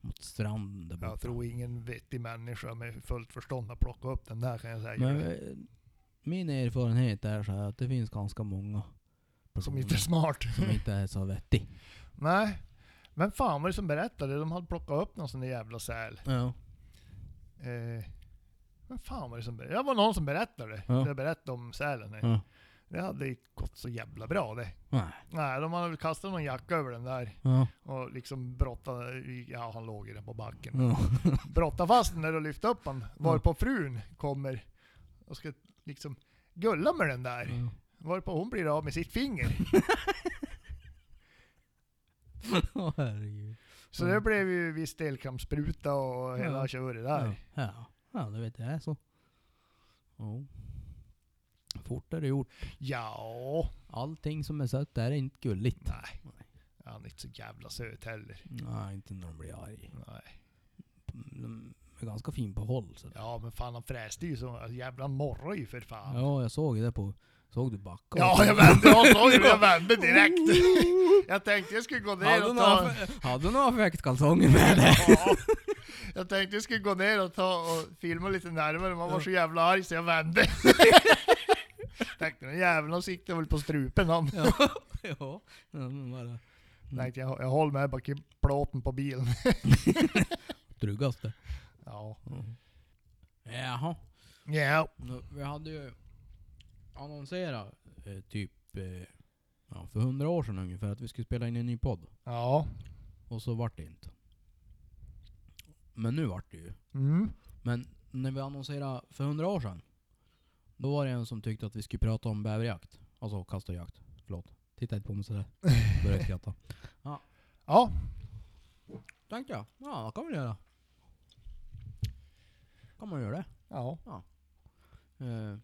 [SPEAKER 1] mot stranden där
[SPEAKER 2] Jag
[SPEAKER 1] borta.
[SPEAKER 2] tror ingen vettig människa med fullt förstånd har plockat upp den där kan jag säga.
[SPEAKER 1] Men eh, min erfarenhet är så här att det finns ganska många
[SPEAKER 2] Som
[SPEAKER 1] personer
[SPEAKER 2] inte är smart.
[SPEAKER 1] som inte är så vettig.
[SPEAKER 2] Nej. Men fan var det som berättade? De hade plockat upp någon sån där jävla säl.
[SPEAKER 1] Ja.
[SPEAKER 2] Eh, vad fan var det som berättade? Det var någon som berättade. det.
[SPEAKER 1] Ja.
[SPEAKER 2] Jag berättade om sälen. här.
[SPEAKER 1] Ja.
[SPEAKER 2] Det hade inte gått så jävla bra det.
[SPEAKER 1] Nej.
[SPEAKER 2] Nej, de hade väl kastat någon jacka över den där
[SPEAKER 1] Ja.
[SPEAKER 2] och liksom brottat, ja han låg i den på backen.
[SPEAKER 1] Ja.
[SPEAKER 2] Brottat fast den där och lyft upp den. Varpå frun kommer och ska liksom gulla med den där.
[SPEAKER 1] Ja.
[SPEAKER 2] Varpå hon blir av med sitt finger.
[SPEAKER 1] Åh, (laughs) herregud.
[SPEAKER 2] Så
[SPEAKER 1] Mm.
[SPEAKER 2] det blev ju viss delkrampsspruta och hela
[SPEAKER 1] Ja.
[SPEAKER 2] köret
[SPEAKER 1] Ja.
[SPEAKER 2] där.
[SPEAKER 1] Ja. ja, det vet jag det är så. Ja. Fort är det gjort.
[SPEAKER 2] Ja,
[SPEAKER 1] Allting som är sött är inte gulligt.
[SPEAKER 2] nej. Han är inte så jävla söt heller.
[SPEAKER 1] Nej, inte när de blir arg.
[SPEAKER 2] Nej.
[SPEAKER 1] De är ganska fin på håll sådär.
[SPEAKER 2] Ja men fan han fräste ju så. Alltså, jävla morrar ju för fan. Ja,
[SPEAKER 1] Ja, jag såg ju det på... Såg du backa?
[SPEAKER 2] jag vände. Jag såg ju, jag
[SPEAKER 1] (laughs)
[SPEAKER 2] vände direkt. Jag tänkte jag skulle gå ner
[SPEAKER 1] Hade
[SPEAKER 2] och
[SPEAKER 1] du
[SPEAKER 2] ta...
[SPEAKER 1] några- Hade du några fäktkalsonger med dig?
[SPEAKER 2] Ja. Jag tänkte jag skulle gå ner och ta och filma lite närmare, man var så jävla arg så jag vände.
[SPEAKER 1] (laughs)
[SPEAKER 2] tänkte den jäveln siktar väl på strupen
[SPEAKER 1] Mm.
[SPEAKER 2] han.
[SPEAKER 1] (laughs) ja. men bara
[SPEAKER 2] Tänkte jag, jag håller med bak i plåten på bilen.
[SPEAKER 1] Druggas det.
[SPEAKER 2] Ja.
[SPEAKER 1] Jaha.
[SPEAKER 2] Ja.
[SPEAKER 1] Nu, Vi hade ju annonserat eh, typ eh, ja, för hundra år sedan ungefär att vi skulle spela in en ny podd.
[SPEAKER 2] Ja.
[SPEAKER 1] Och så vart det inte. Men nu vart det ju.
[SPEAKER 2] Mm.
[SPEAKER 1] Men när vi annonserade för hundra år sedan. Då var det en som tyckte att vi skulle prata om bäverjakt. Alltså kast och jakt. Förlåt. Titta inte på mig sådär. (laughs) Började skratta.
[SPEAKER 2] Ja.
[SPEAKER 1] Tänkte jag. Ja, det kan man göra. kan man göra det.
[SPEAKER 2] Ja.
[SPEAKER 1] Eh,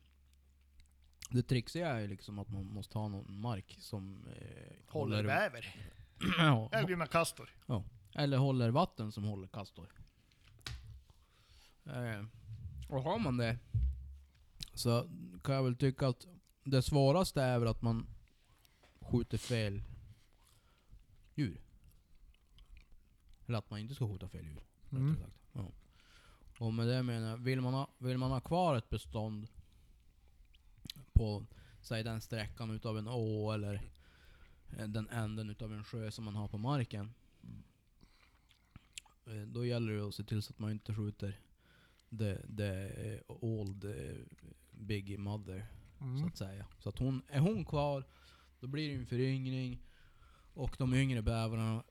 [SPEAKER 1] Det trixiga är ju liksom att man måste ha någon mark som eh,
[SPEAKER 2] Håller bäver.
[SPEAKER 1] (clears throat) ja,
[SPEAKER 2] Eller blir man kastor.
[SPEAKER 1] eller håller vatten som håller kastor. Eh, och har man det så kan jag väl tycka att det svåraste är väl att man skjuter fel djur. Eller att man inte ska skjuta fel djur.
[SPEAKER 2] Mm.
[SPEAKER 1] rättare Sagt. Ja. Och med det menar jag, vill man ha, vill man ha kvar ett bestånd på säg den sträckan utav en å eller eh, den änden utav en sjö som man har på marken. Eh, Då gäller det att se till så att man inte skjuter the, the eh, old eh, big mother så
[SPEAKER 2] Mm.
[SPEAKER 1] att säga. Så att hon, är hon kvar, då blir det ju en föryngring. Och de yngre bävrarna,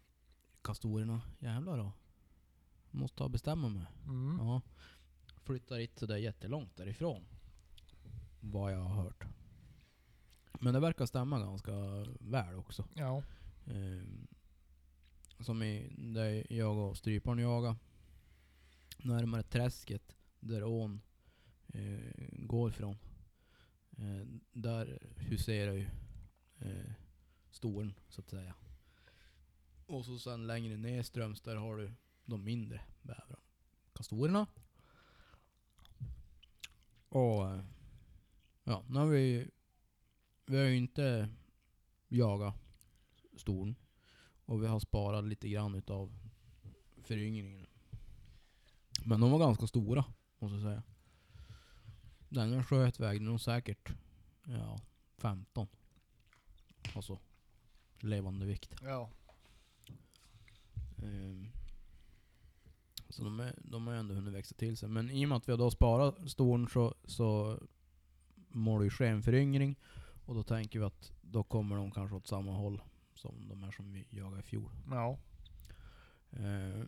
[SPEAKER 1] kastorerna, jävlar då. Måste ta och bestämma mig.
[SPEAKER 2] Mm.
[SPEAKER 1] Ja. Flyttar inte sådär jättelångt därifrån. Vad jag har hört. Men det verkar stämma ganska väl också.
[SPEAKER 2] Ja.
[SPEAKER 1] Ehm, som i, där jag och stryparen jagade. Närmare träsket där ån eh, går ifrån. Eh, där huserar ju eh, storn så att säga. Och så sen längre nedströms där har du de mindre bävrarna. Kastorerna. Och eh, ja, nu har vi, vi har ju inte jagat storn. Och vi har sparat lite grann utav föryngringen. Men de var ganska stora, måste jag säga. Den jag sköt vägde nog säkert ja, 15. Alltså levande vikt.
[SPEAKER 2] Ja.
[SPEAKER 1] Ehm, Så de, är, de har ju ändå hunnit växa till sig. Men i och med att vi då sparat storn så, så mår det ju ske en föryngring. Och då tänker vi att då kommer de kanske åt samma håll som de här som vi jagade i fjol.
[SPEAKER 2] Ja.
[SPEAKER 1] Eh,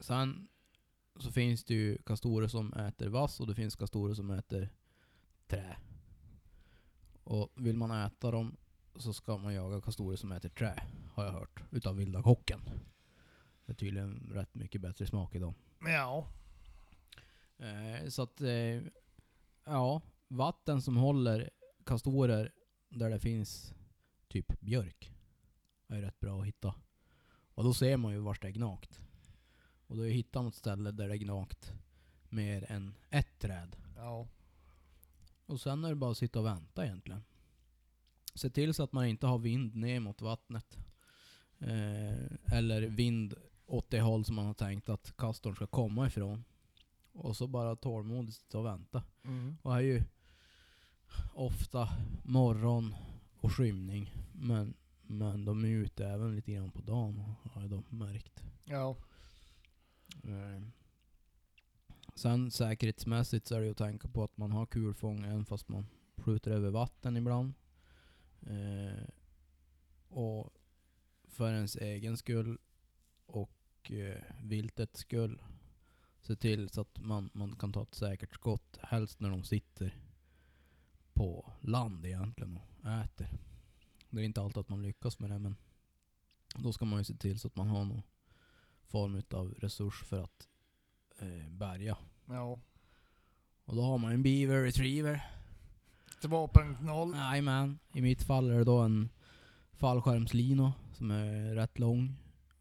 [SPEAKER 1] sen så finns det ju kastorer som äter vass och det finns kastorer som äter trä. Och vill man äta dem så ska man jaga kastorer som äter trä, har jag hört. Utav vilda kocken. Det är tydligen rätt mycket bättre smak i dem.
[SPEAKER 2] Ja.
[SPEAKER 1] Eh, så att, eh, ja, vatten som håller kastorer där det finns typ björk är ju rätt bra att hitta. Och då ser man ju vart det är gnagt. Och då hittar man ett ställe där det är gnagt mer än ett träd.
[SPEAKER 2] Ja.
[SPEAKER 1] Och sen är det bara att sitta och vänta egentligen. Se till så att man inte har vind ner mot vattnet. Eh, eller vind åt det håll som man har tänkt att kastorn ska komma ifrån. Och så bara tålmodigt sitta och vänta.
[SPEAKER 2] Mm.
[SPEAKER 1] Och är ju ofta morgon och skymning. Men, men de är ju ute även lite grann på dagen har jag då märkt.
[SPEAKER 2] Ja.
[SPEAKER 1] Eh, Sen säkerhetsmässigt så är det ju att tänka på att man har kulfång även fast man skjuter över vatten ibland. Eh, och för ens egen skull och eh, viltets skull se till så att man, man kan ta ett säkert skott. Helst när de sitter på land egentligen och äter. Det är inte alltid att man lyckas med det men då ska man ju se till så att man har någon form utav resurs för att eh, bärga.
[SPEAKER 2] Ja.
[SPEAKER 1] Och då har man en beaver retriever.
[SPEAKER 2] 2.0.
[SPEAKER 1] Jajamän. I mitt fall är det då en fallskärmslina som är rätt lång.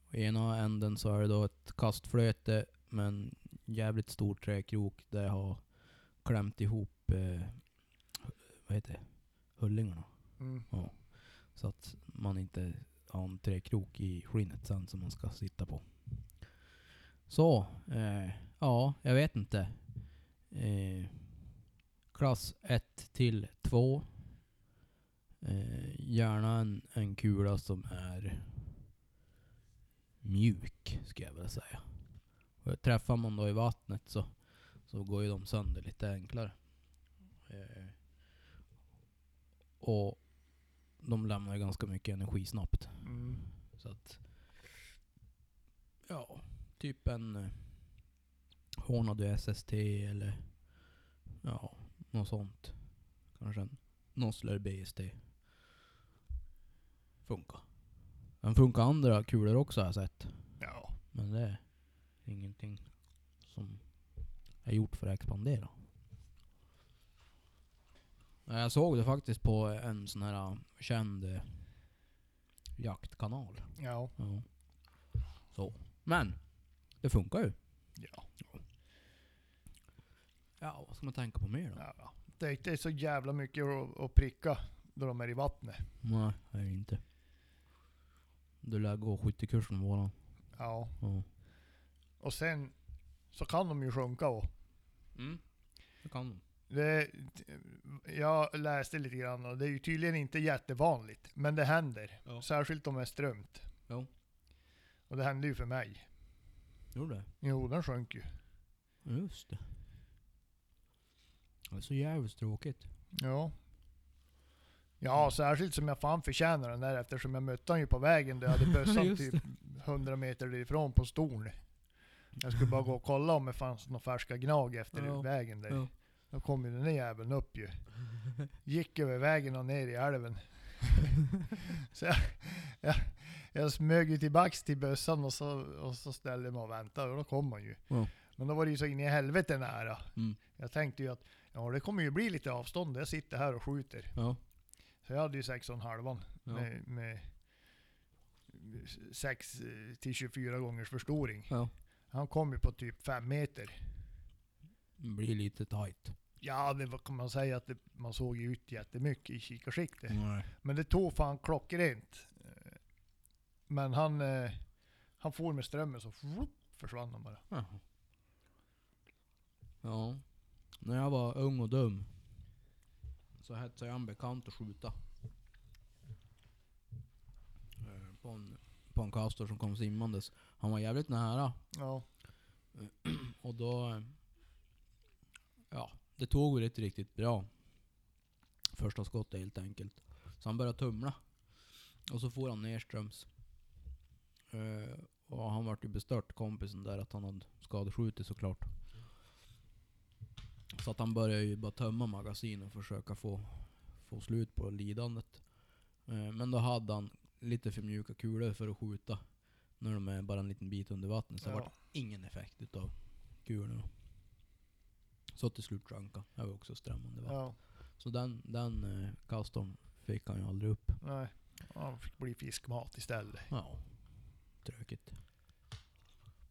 [SPEAKER 1] Och ena änden så är det då ett kastflöte med en jävligt stor träkrok där jag har klämt ihop eh, vad heter det? hullingarna.
[SPEAKER 2] Mm.
[SPEAKER 1] Så att man inte har en träkrok i skinnet sen som man ska sitta på. Så, eh, ja, jag vet inte. Eh, klass 1 till 2. Eh, gärna en, en kula som är mjuk, ska jag väl säga. Och träffar man då i vattnet så, så går ju de sönder lite enklare. Eh, och de lämnar ju ganska mycket energi snabbt.
[SPEAKER 2] Mm.
[SPEAKER 1] Så att... Ja, typ en eh, Hornady SST eller ja, något sånt. Kanske en Nossler BST. Funkar. Den funkar andra kulor också har jag sett.
[SPEAKER 2] Ja.
[SPEAKER 1] Men det är ingenting som är gjort för att expandera. Nej, Jag såg det faktiskt på en sån här eh, känd eh, jaktkanal.
[SPEAKER 2] Ja.
[SPEAKER 1] Ja. Så. Men, det funkar ju.
[SPEAKER 2] Ja.
[SPEAKER 1] Ja, vad ska man tänka på mer då?
[SPEAKER 2] ja. ja. Det, det är så jävla mycket att, att pricka då de är i vattnet.
[SPEAKER 1] Nej, det är det inte. Du lär gå skyttekursen våran.
[SPEAKER 2] Ja.
[SPEAKER 1] Ja.
[SPEAKER 2] Och sen så kan de ju sjunka och
[SPEAKER 1] Mm. Det kan du.
[SPEAKER 2] det, Jag läste lite grann och det är ju tydligen inte jättevanligt. Men det händer.
[SPEAKER 1] Ja.
[SPEAKER 2] Särskilt om det är strömt.
[SPEAKER 1] Ja.
[SPEAKER 2] Och det hände ju för mig.
[SPEAKER 1] Gjorde det?
[SPEAKER 2] Jo, den sjönk ju.
[SPEAKER 1] Ja, Just det. Det är så jävligt tråkigt.
[SPEAKER 2] Ja. Ja, särskilt som jag fan förtjänar den där eftersom jag mötte han ju på vägen där jag hade bössan
[SPEAKER 1] Just
[SPEAKER 2] typ 100 meter ifrån på storn. Jag skulle bara gå och kolla om det fanns några färska gnag efter
[SPEAKER 1] Ja.
[SPEAKER 2] vägen där.
[SPEAKER 1] Ja.
[SPEAKER 2] Då kom ju den där jäveln upp ju. Gick över vägen och ner
[SPEAKER 1] (laughs)
[SPEAKER 2] i älven. så jag, jag, jag smög ju tillbaks till bössan och så, och så ställde jag mig och väntade och då kom han ju.
[SPEAKER 1] Ja.
[SPEAKER 2] Men då var det ju så in i helvete nära.
[SPEAKER 1] Mm.
[SPEAKER 2] Jag tänkte ju att ja, det kommer ju bli lite avstånd. Jag sitter här och skjuter.
[SPEAKER 1] Ja.
[SPEAKER 2] Så jag hade ju 6,5
[SPEAKER 1] Ja.
[SPEAKER 2] med, med 6 till 24 gångers förstoring.
[SPEAKER 1] ja.
[SPEAKER 2] Han kom ju på typ 5 meter.
[SPEAKER 1] Det blir lite tight.
[SPEAKER 2] Ja, det var, kan man säga att det, man såg ju ut jättemycket i kikarsikte.
[SPEAKER 1] Nej.
[SPEAKER 2] Men det tog fan klockrent. Eh, Men han, eh, han for med strömmen så vroom, försvann han bara.
[SPEAKER 1] Jaha. Ja. När jag var ung och dum så hetsade jag en bekant att skjuta. Eh, På en, på en castor som kom simmandes. Han var jävligt nära.
[SPEAKER 2] Ja,
[SPEAKER 1] Och då... eh, Ja, det tog väl inte riktigt bra. Första skottet helt enkelt. Så han började tumla. Och så får han nerströms. Eh, och han vart ju bestört, kompisen där, att han hade skadeskjutit såklart. Så att han började ju bara tömma magasinet och försöka få, få slut på lidandet. Eh, men då hade han lite för mjuka kulor för att skjuta. När de är bara en liten bit under vattnet. Så det
[SPEAKER 2] Ja.
[SPEAKER 1] vart ingen effekt utav kulorna. Så till slut sjönk han. Det var också strömmande vatten.
[SPEAKER 2] ja,
[SPEAKER 1] Så den, den eh, kastorn fick han ju aldrig upp.
[SPEAKER 2] nej. Han fick bli fiskmat istället.
[SPEAKER 1] Ja, tråkigt.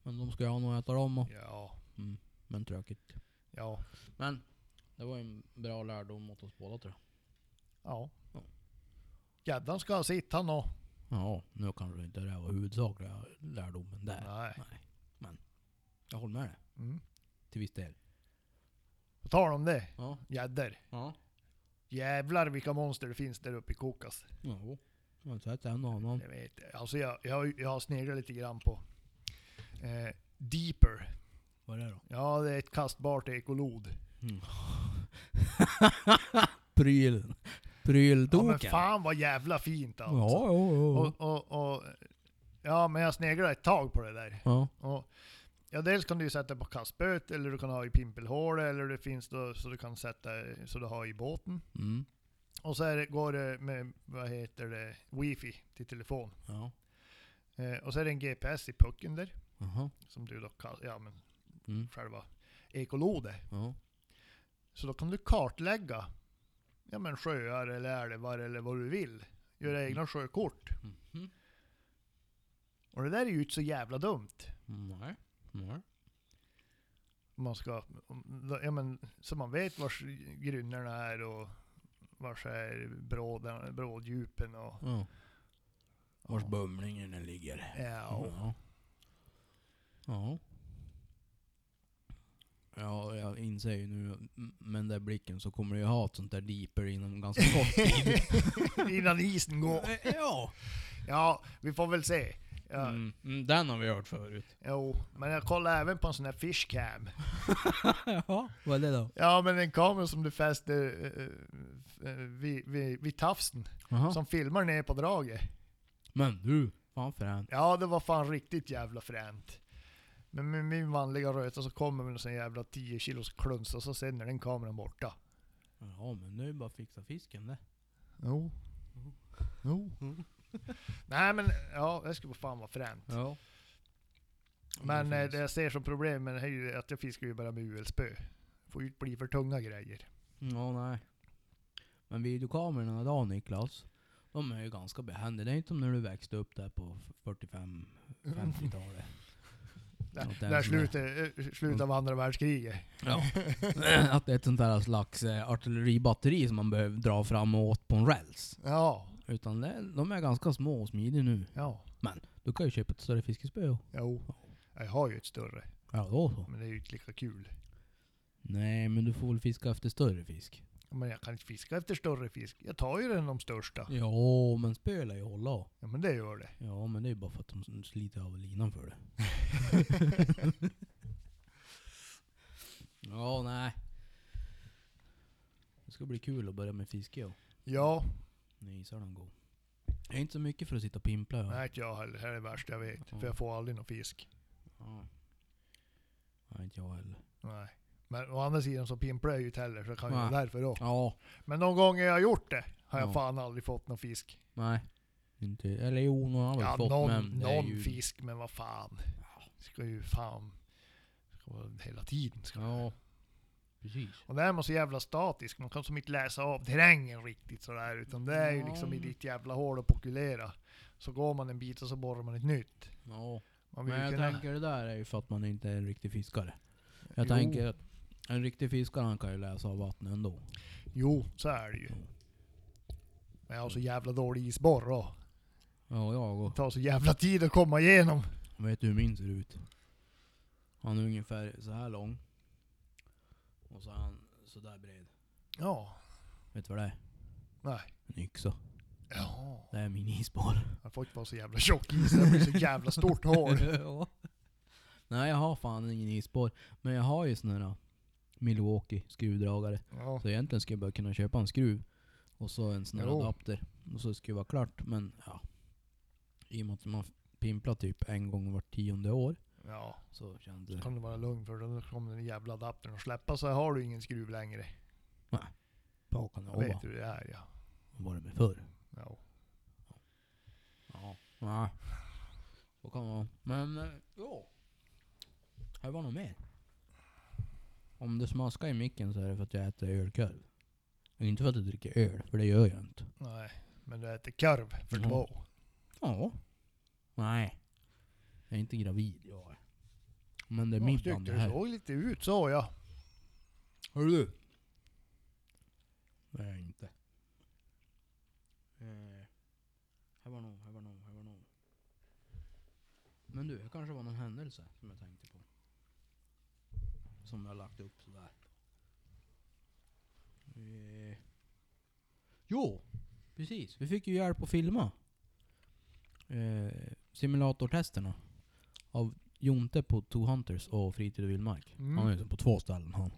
[SPEAKER 1] Men de ska ju ha något att äta dem och.
[SPEAKER 2] Ja,
[SPEAKER 1] Mm, men tråkigt.
[SPEAKER 2] ja,
[SPEAKER 1] Men det var ju en bra lärdom åt oss båda tror jag.
[SPEAKER 2] ja.
[SPEAKER 1] Ja.
[SPEAKER 2] Gäddan ska ha sitt han och.
[SPEAKER 1] Ja, nu kanske inte det var huvudsakliga lärdomen där.
[SPEAKER 2] Nej.
[SPEAKER 1] Men jag håller med dig.
[SPEAKER 2] Mm.
[SPEAKER 1] Till viss del.
[SPEAKER 2] På tal om det,
[SPEAKER 1] Ja.
[SPEAKER 2] gäddor.
[SPEAKER 1] Ja.
[SPEAKER 2] Jävlar vilka monster det finns där uppe i Kokas.
[SPEAKER 1] Jo. Jag har sett en och annan.
[SPEAKER 2] Jag vet, alltså jag, jag, har ju- jag har sneglat lite grann på eh, Deeper.
[SPEAKER 1] Vad är det då?
[SPEAKER 2] Ja, det är ett kastbart ekolod.
[SPEAKER 1] Mm. (laughs) Prylen.
[SPEAKER 2] Ja, men
[SPEAKER 1] Pryldoken.
[SPEAKER 2] fan vad jävla fint alltså.
[SPEAKER 1] Ja, jo, jo.
[SPEAKER 2] Och, och, och, ja, men jag sneglade ett tag på det där.
[SPEAKER 1] Ja.
[SPEAKER 2] Och, ja, dels kan du ju sätta på kastspöet, eller du kan ha i pimpelhålet, eller det finns då, så du kan sätta så du har i båten.
[SPEAKER 1] Mm.
[SPEAKER 2] Och så är det, går det med, vad heter det, wifi till telefon.
[SPEAKER 1] Ja.
[SPEAKER 2] Eh, och så är det en GPS i pucken där,
[SPEAKER 1] Jaha.
[SPEAKER 2] som du då kallar, ja men
[SPEAKER 1] Mm.
[SPEAKER 2] själva ekolodet.
[SPEAKER 1] Ja.
[SPEAKER 2] Så då kan du kartlägga ja, men sjöar eller älvar eller vad du vill göra
[SPEAKER 1] Mm.
[SPEAKER 2] egna sjökort.
[SPEAKER 1] Mhm.
[SPEAKER 2] Och det där är ju inte så jävla dumt.
[SPEAKER 1] Mm-hmm. Nej. Nej.
[SPEAKER 2] man ska, om- ja, men, så man vet vars grynnorna är och vars är brådarna- bråddjupen och...
[SPEAKER 1] Ja. Vars bumlingen den ligger.
[SPEAKER 2] Ja,
[SPEAKER 1] Ja. Ja. Ja, jag inser ju nu, m- med den där blicken så kommer du ju ha ett sånt där deeper inom ganska
[SPEAKER 2] (laughs)
[SPEAKER 1] kort tid. (laughs)
[SPEAKER 2] innan isen går.
[SPEAKER 1] Eh, ja.
[SPEAKER 2] Ja, vi får väl se. Ja,
[SPEAKER 1] Mm, mm, den har vi hört förut.
[SPEAKER 2] Jo, men jag kollade även på en sån här fishcam.
[SPEAKER 1] ja, vad är det då?
[SPEAKER 2] Ja, men en kamera som du fäster eh, eh, vid, vid, vid tafsen,
[SPEAKER 1] Jaha.
[SPEAKER 2] som filmar ner på draget.
[SPEAKER 1] Men du, fan fränt.
[SPEAKER 2] Ja, det var fan riktigt jävla fränt. Men med min vanliga röta så kommer med en sån jävla 10 kilos kluns och så sen är den kameran borta.
[SPEAKER 1] Ja, men nu är det bara att fixa fisken det.
[SPEAKER 2] Jo. Jo. (laughs) Nej men ja, det skulle fan vara fränt.
[SPEAKER 1] Ja.
[SPEAKER 2] Men eh,
[SPEAKER 1] finns.
[SPEAKER 2] det jag ser som problem med det här är ju att jag fiskar ju bara med UL-spö. Får ju inte bli för tunga grejer.
[SPEAKER 1] Ja, nej. Men videokamerorna då Niklas? De är ju ganska behändiga. Det är inte som när du växte upp där på 45-50-talet.
[SPEAKER 2] Där, där slutet, eh, slutet av andra världskriget.
[SPEAKER 1] Ja. (laughs) Att det är ett sånt där slags eh, artilleribatteri som man behöver dra fram och åt på en räls.
[SPEAKER 2] Ja,
[SPEAKER 1] Utan det, de är ganska små och smidiga nu.
[SPEAKER 2] ja,
[SPEAKER 1] Du kan ju köpa ett större fiskespö.
[SPEAKER 2] jo. Jag har ju ett större,
[SPEAKER 1] Ja, då så.
[SPEAKER 2] men det är ju inte lika kul.
[SPEAKER 1] Nej, men du får väl fiska efter större fisk.
[SPEAKER 2] Men jag kan inte fiska efter större fisk. Jag tar ju den de största.
[SPEAKER 1] Ja, men spö lär ju hålla.
[SPEAKER 2] Ja men det gör det.
[SPEAKER 1] Ja, men det är ju bara för att de sliter av linan för
[SPEAKER 2] (laughs)
[SPEAKER 1] det. ja, nej. Det ska bli kul att börja med fiske ja.
[SPEAKER 2] Ja,
[SPEAKER 1] När isarna går. Jag är inte så mycket för att sitta och pimpla. Ja.
[SPEAKER 2] nej inte jag heller. Det här är det värsta jag vet. För jag får aldrig någon fisk.
[SPEAKER 1] Ja. Nej, inte jag heller.
[SPEAKER 2] Nej. Men å andra sidan så pimplar jag ju inte heller, så det kan ju
[SPEAKER 1] Nej.
[SPEAKER 2] vara därför då.
[SPEAKER 1] Ja,
[SPEAKER 2] Men de gånger jag har gjort det har jag
[SPEAKER 1] Ja.
[SPEAKER 2] fan aldrig fått någon fisk.
[SPEAKER 1] nej. Inte, eller jo, någon har väl
[SPEAKER 2] Ja,
[SPEAKER 1] fått
[SPEAKER 2] någon,
[SPEAKER 1] men det är
[SPEAKER 2] någon
[SPEAKER 1] ju...
[SPEAKER 2] fisk, men vad fan. Ska ju fan... Ska vara hela tiden. Ska det.
[SPEAKER 1] Ja, precis.
[SPEAKER 2] Och där är man så jävla statisk. Man kan som inte läsa av terrängen riktigt sådär. Utan det är ju liksom i ditt jävla hål och pokulera. Så går man en bit och så borrar man ett nytt.
[SPEAKER 1] Ja.
[SPEAKER 2] Man vill
[SPEAKER 1] Men
[SPEAKER 2] ju
[SPEAKER 1] jag
[SPEAKER 2] kunna...
[SPEAKER 1] tänker det där är ju för att man inte är en riktig fiskare. Jag
[SPEAKER 2] Jo.
[SPEAKER 1] tänker att en riktig fiskare han kan ju läsa av vattnet ändå.
[SPEAKER 2] Jo, så är det ju. Men jag har så jävla dålig isborr och
[SPEAKER 1] Ja, jag
[SPEAKER 2] det
[SPEAKER 1] och.
[SPEAKER 2] tar så jävla tid att komma igenom.
[SPEAKER 1] Vet du hur min ser ut? Han är ungefär så här lång. Och så är han så där bred.
[SPEAKER 2] Ja.
[SPEAKER 1] Vet du vad det är?
[SPEAKER 2] Nej.
[SPEAKER 1] En yxa.
[SPEAKER 2] Ja.
[SPEAKER 1] Det är min isborr.
[SPEAKER 2] Jag får inte vara så jävla tjock is, det blir så jävla
[SPEAKER 1] (laughs)
[SPEAKER 2] stort hår.
[SPEAKER 1] Ja. Nej jag har fan ingen isborr. Men jag har ju sån här äh, Milwaukee skruvdragare.
[SPEAKER 2] Ja.
[SPEAKER 1] Så egentligen skulle jag bara kunna köpa en skruv. Och så en sån här
[SPEAKER 2] Jo.
[SPEAKER 1] adapter. Och så skulle det vara klart. Men ja. I och med att man pimplar typ en gång vart tionde år.
[SPEAKER 2] ja.
[SPEAKER 1] Så kändes
[SPEAKER 2] Då
[SPEAKER 1] det.
[SPEAKER 2] kan du vara lugn för då kommer den jävla adaptern att släppa så har du ingen skruv längre.
[SPEAKER 1] Bakan
[SPEAKER 2] Då vet du hur det är ja.
[SPEAKER 1] Vad var det med förr?
[SPEAKER 2] ja.
[SPEAKER 1] Ja. Nej. Så kan det vara. Men eh, ja. Här var något mer. Om det smaskar i micken så är det för att jag äter ölkorv. Inte för att jag dricker öl, för det gör jag inte.
[SPEAKER 2] Nej. Men du äter korv för
[SPEAKER 1] Mm.
[SPEAKER 2] två.
[SPEAKER 1] Ja. Nej. Jag är inte gravid jag. är. Men det är
[SPEAKER 2] Ja,
[SPEAKER 1] min
[SPEAKER 2] tyckte
[SPEAKER 1] bland det
[SPEAKER 2] Du
[SPEAKER 1] här.
[SPEAKER 2] såg lite ut så ja.
[SPEAKER 1] Hör du? Det är jag inte. Eh, här var någon, här var någon, här var någon. Men du, det kanske var någon händelse som jag tänkte på. Som jag lagt upp sådär. Eh, jo, precis. Vi fick ju hjälp att filma. Eh, simulatortesterna. Av Jonte på Two Hunters och Fritid och Vildmark.
[SPEAKER 2] Mm.
[SPEAKER 1] Han är ju liksom på två ställen han.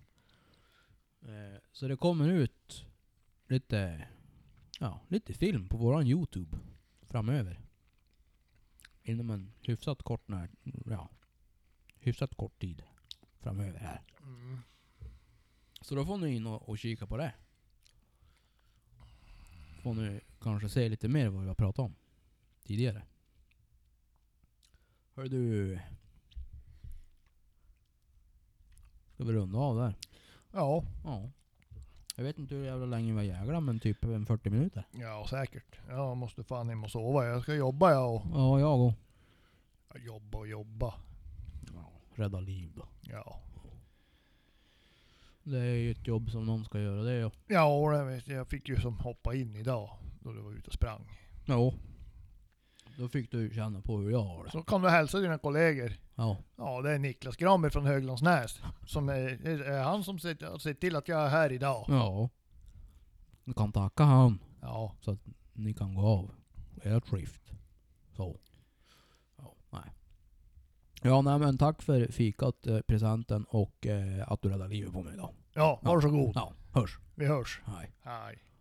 [SPEAKER 1] Eh, så det kommer ut lite, ja, lite film på våran Youtube framöver. Inom en hyfsat kort, när, ja, hyfsat kort tid framöver här.
[SPEAKER 2] Mm.
[SPEAKER 1] Så då får ni in och, och kika på det. Får ni kanske se lite mer vad vi har pratat om tidigare. Hör du... Ska vi runda av där?
[SPEAKER 2] Ja.
[SPEAKER 1] Ja. Jag vet inte hur jävla länge vi har jäglat, men typ en 40 minuter.
[SPEAKER 2] Ja, säkert. Jag måste fan hem och sova. Jag ska jobba jag och...
[SPEAKER 1] Ja, jag och.
[SPEAKER 2] Ja, Jobba och jobba.
[SPEAKER 1] Rädda liv då.
[SPEAKER 2] Ja.
[SPEAKER 1] Det är ju ett jobb som någon ska göra, det är jag.
[SPEAKER 2] Ja, och det vet jag. Jag fick ju som hoppa in idag. Då du var ute och sprang.
[SPEAKER 1] Ja. Då fick du känna på hur jag har det.
[SPEAKER 2] Så kom du och hälsa dina kollegor.
[SPEAKER 1] Ja.
[SPEAKER 2] Ja, det är Niklas Granberg från Höglandsnäs. Som är, det är han som sett, har sett till att jag är här idag.
[SPEAKER 1] Ja. Ni kan tacka han.
[SPEAKER 2] Ja,
[SPEAKER 1] Ni kan gå av. Ert skift. Så. Ja, nej. Ja, nej men tack för fikat, eh, presenten och eh, att du räddade livet på mig idag.
[SPEAKER 2] ja varsågod.
[SPEAKER 1] Ja, hörs.
[SPEAKER 2] Vi hörs.
[SPEAKER 1] Hej.
[SPEAKER 2] Hej.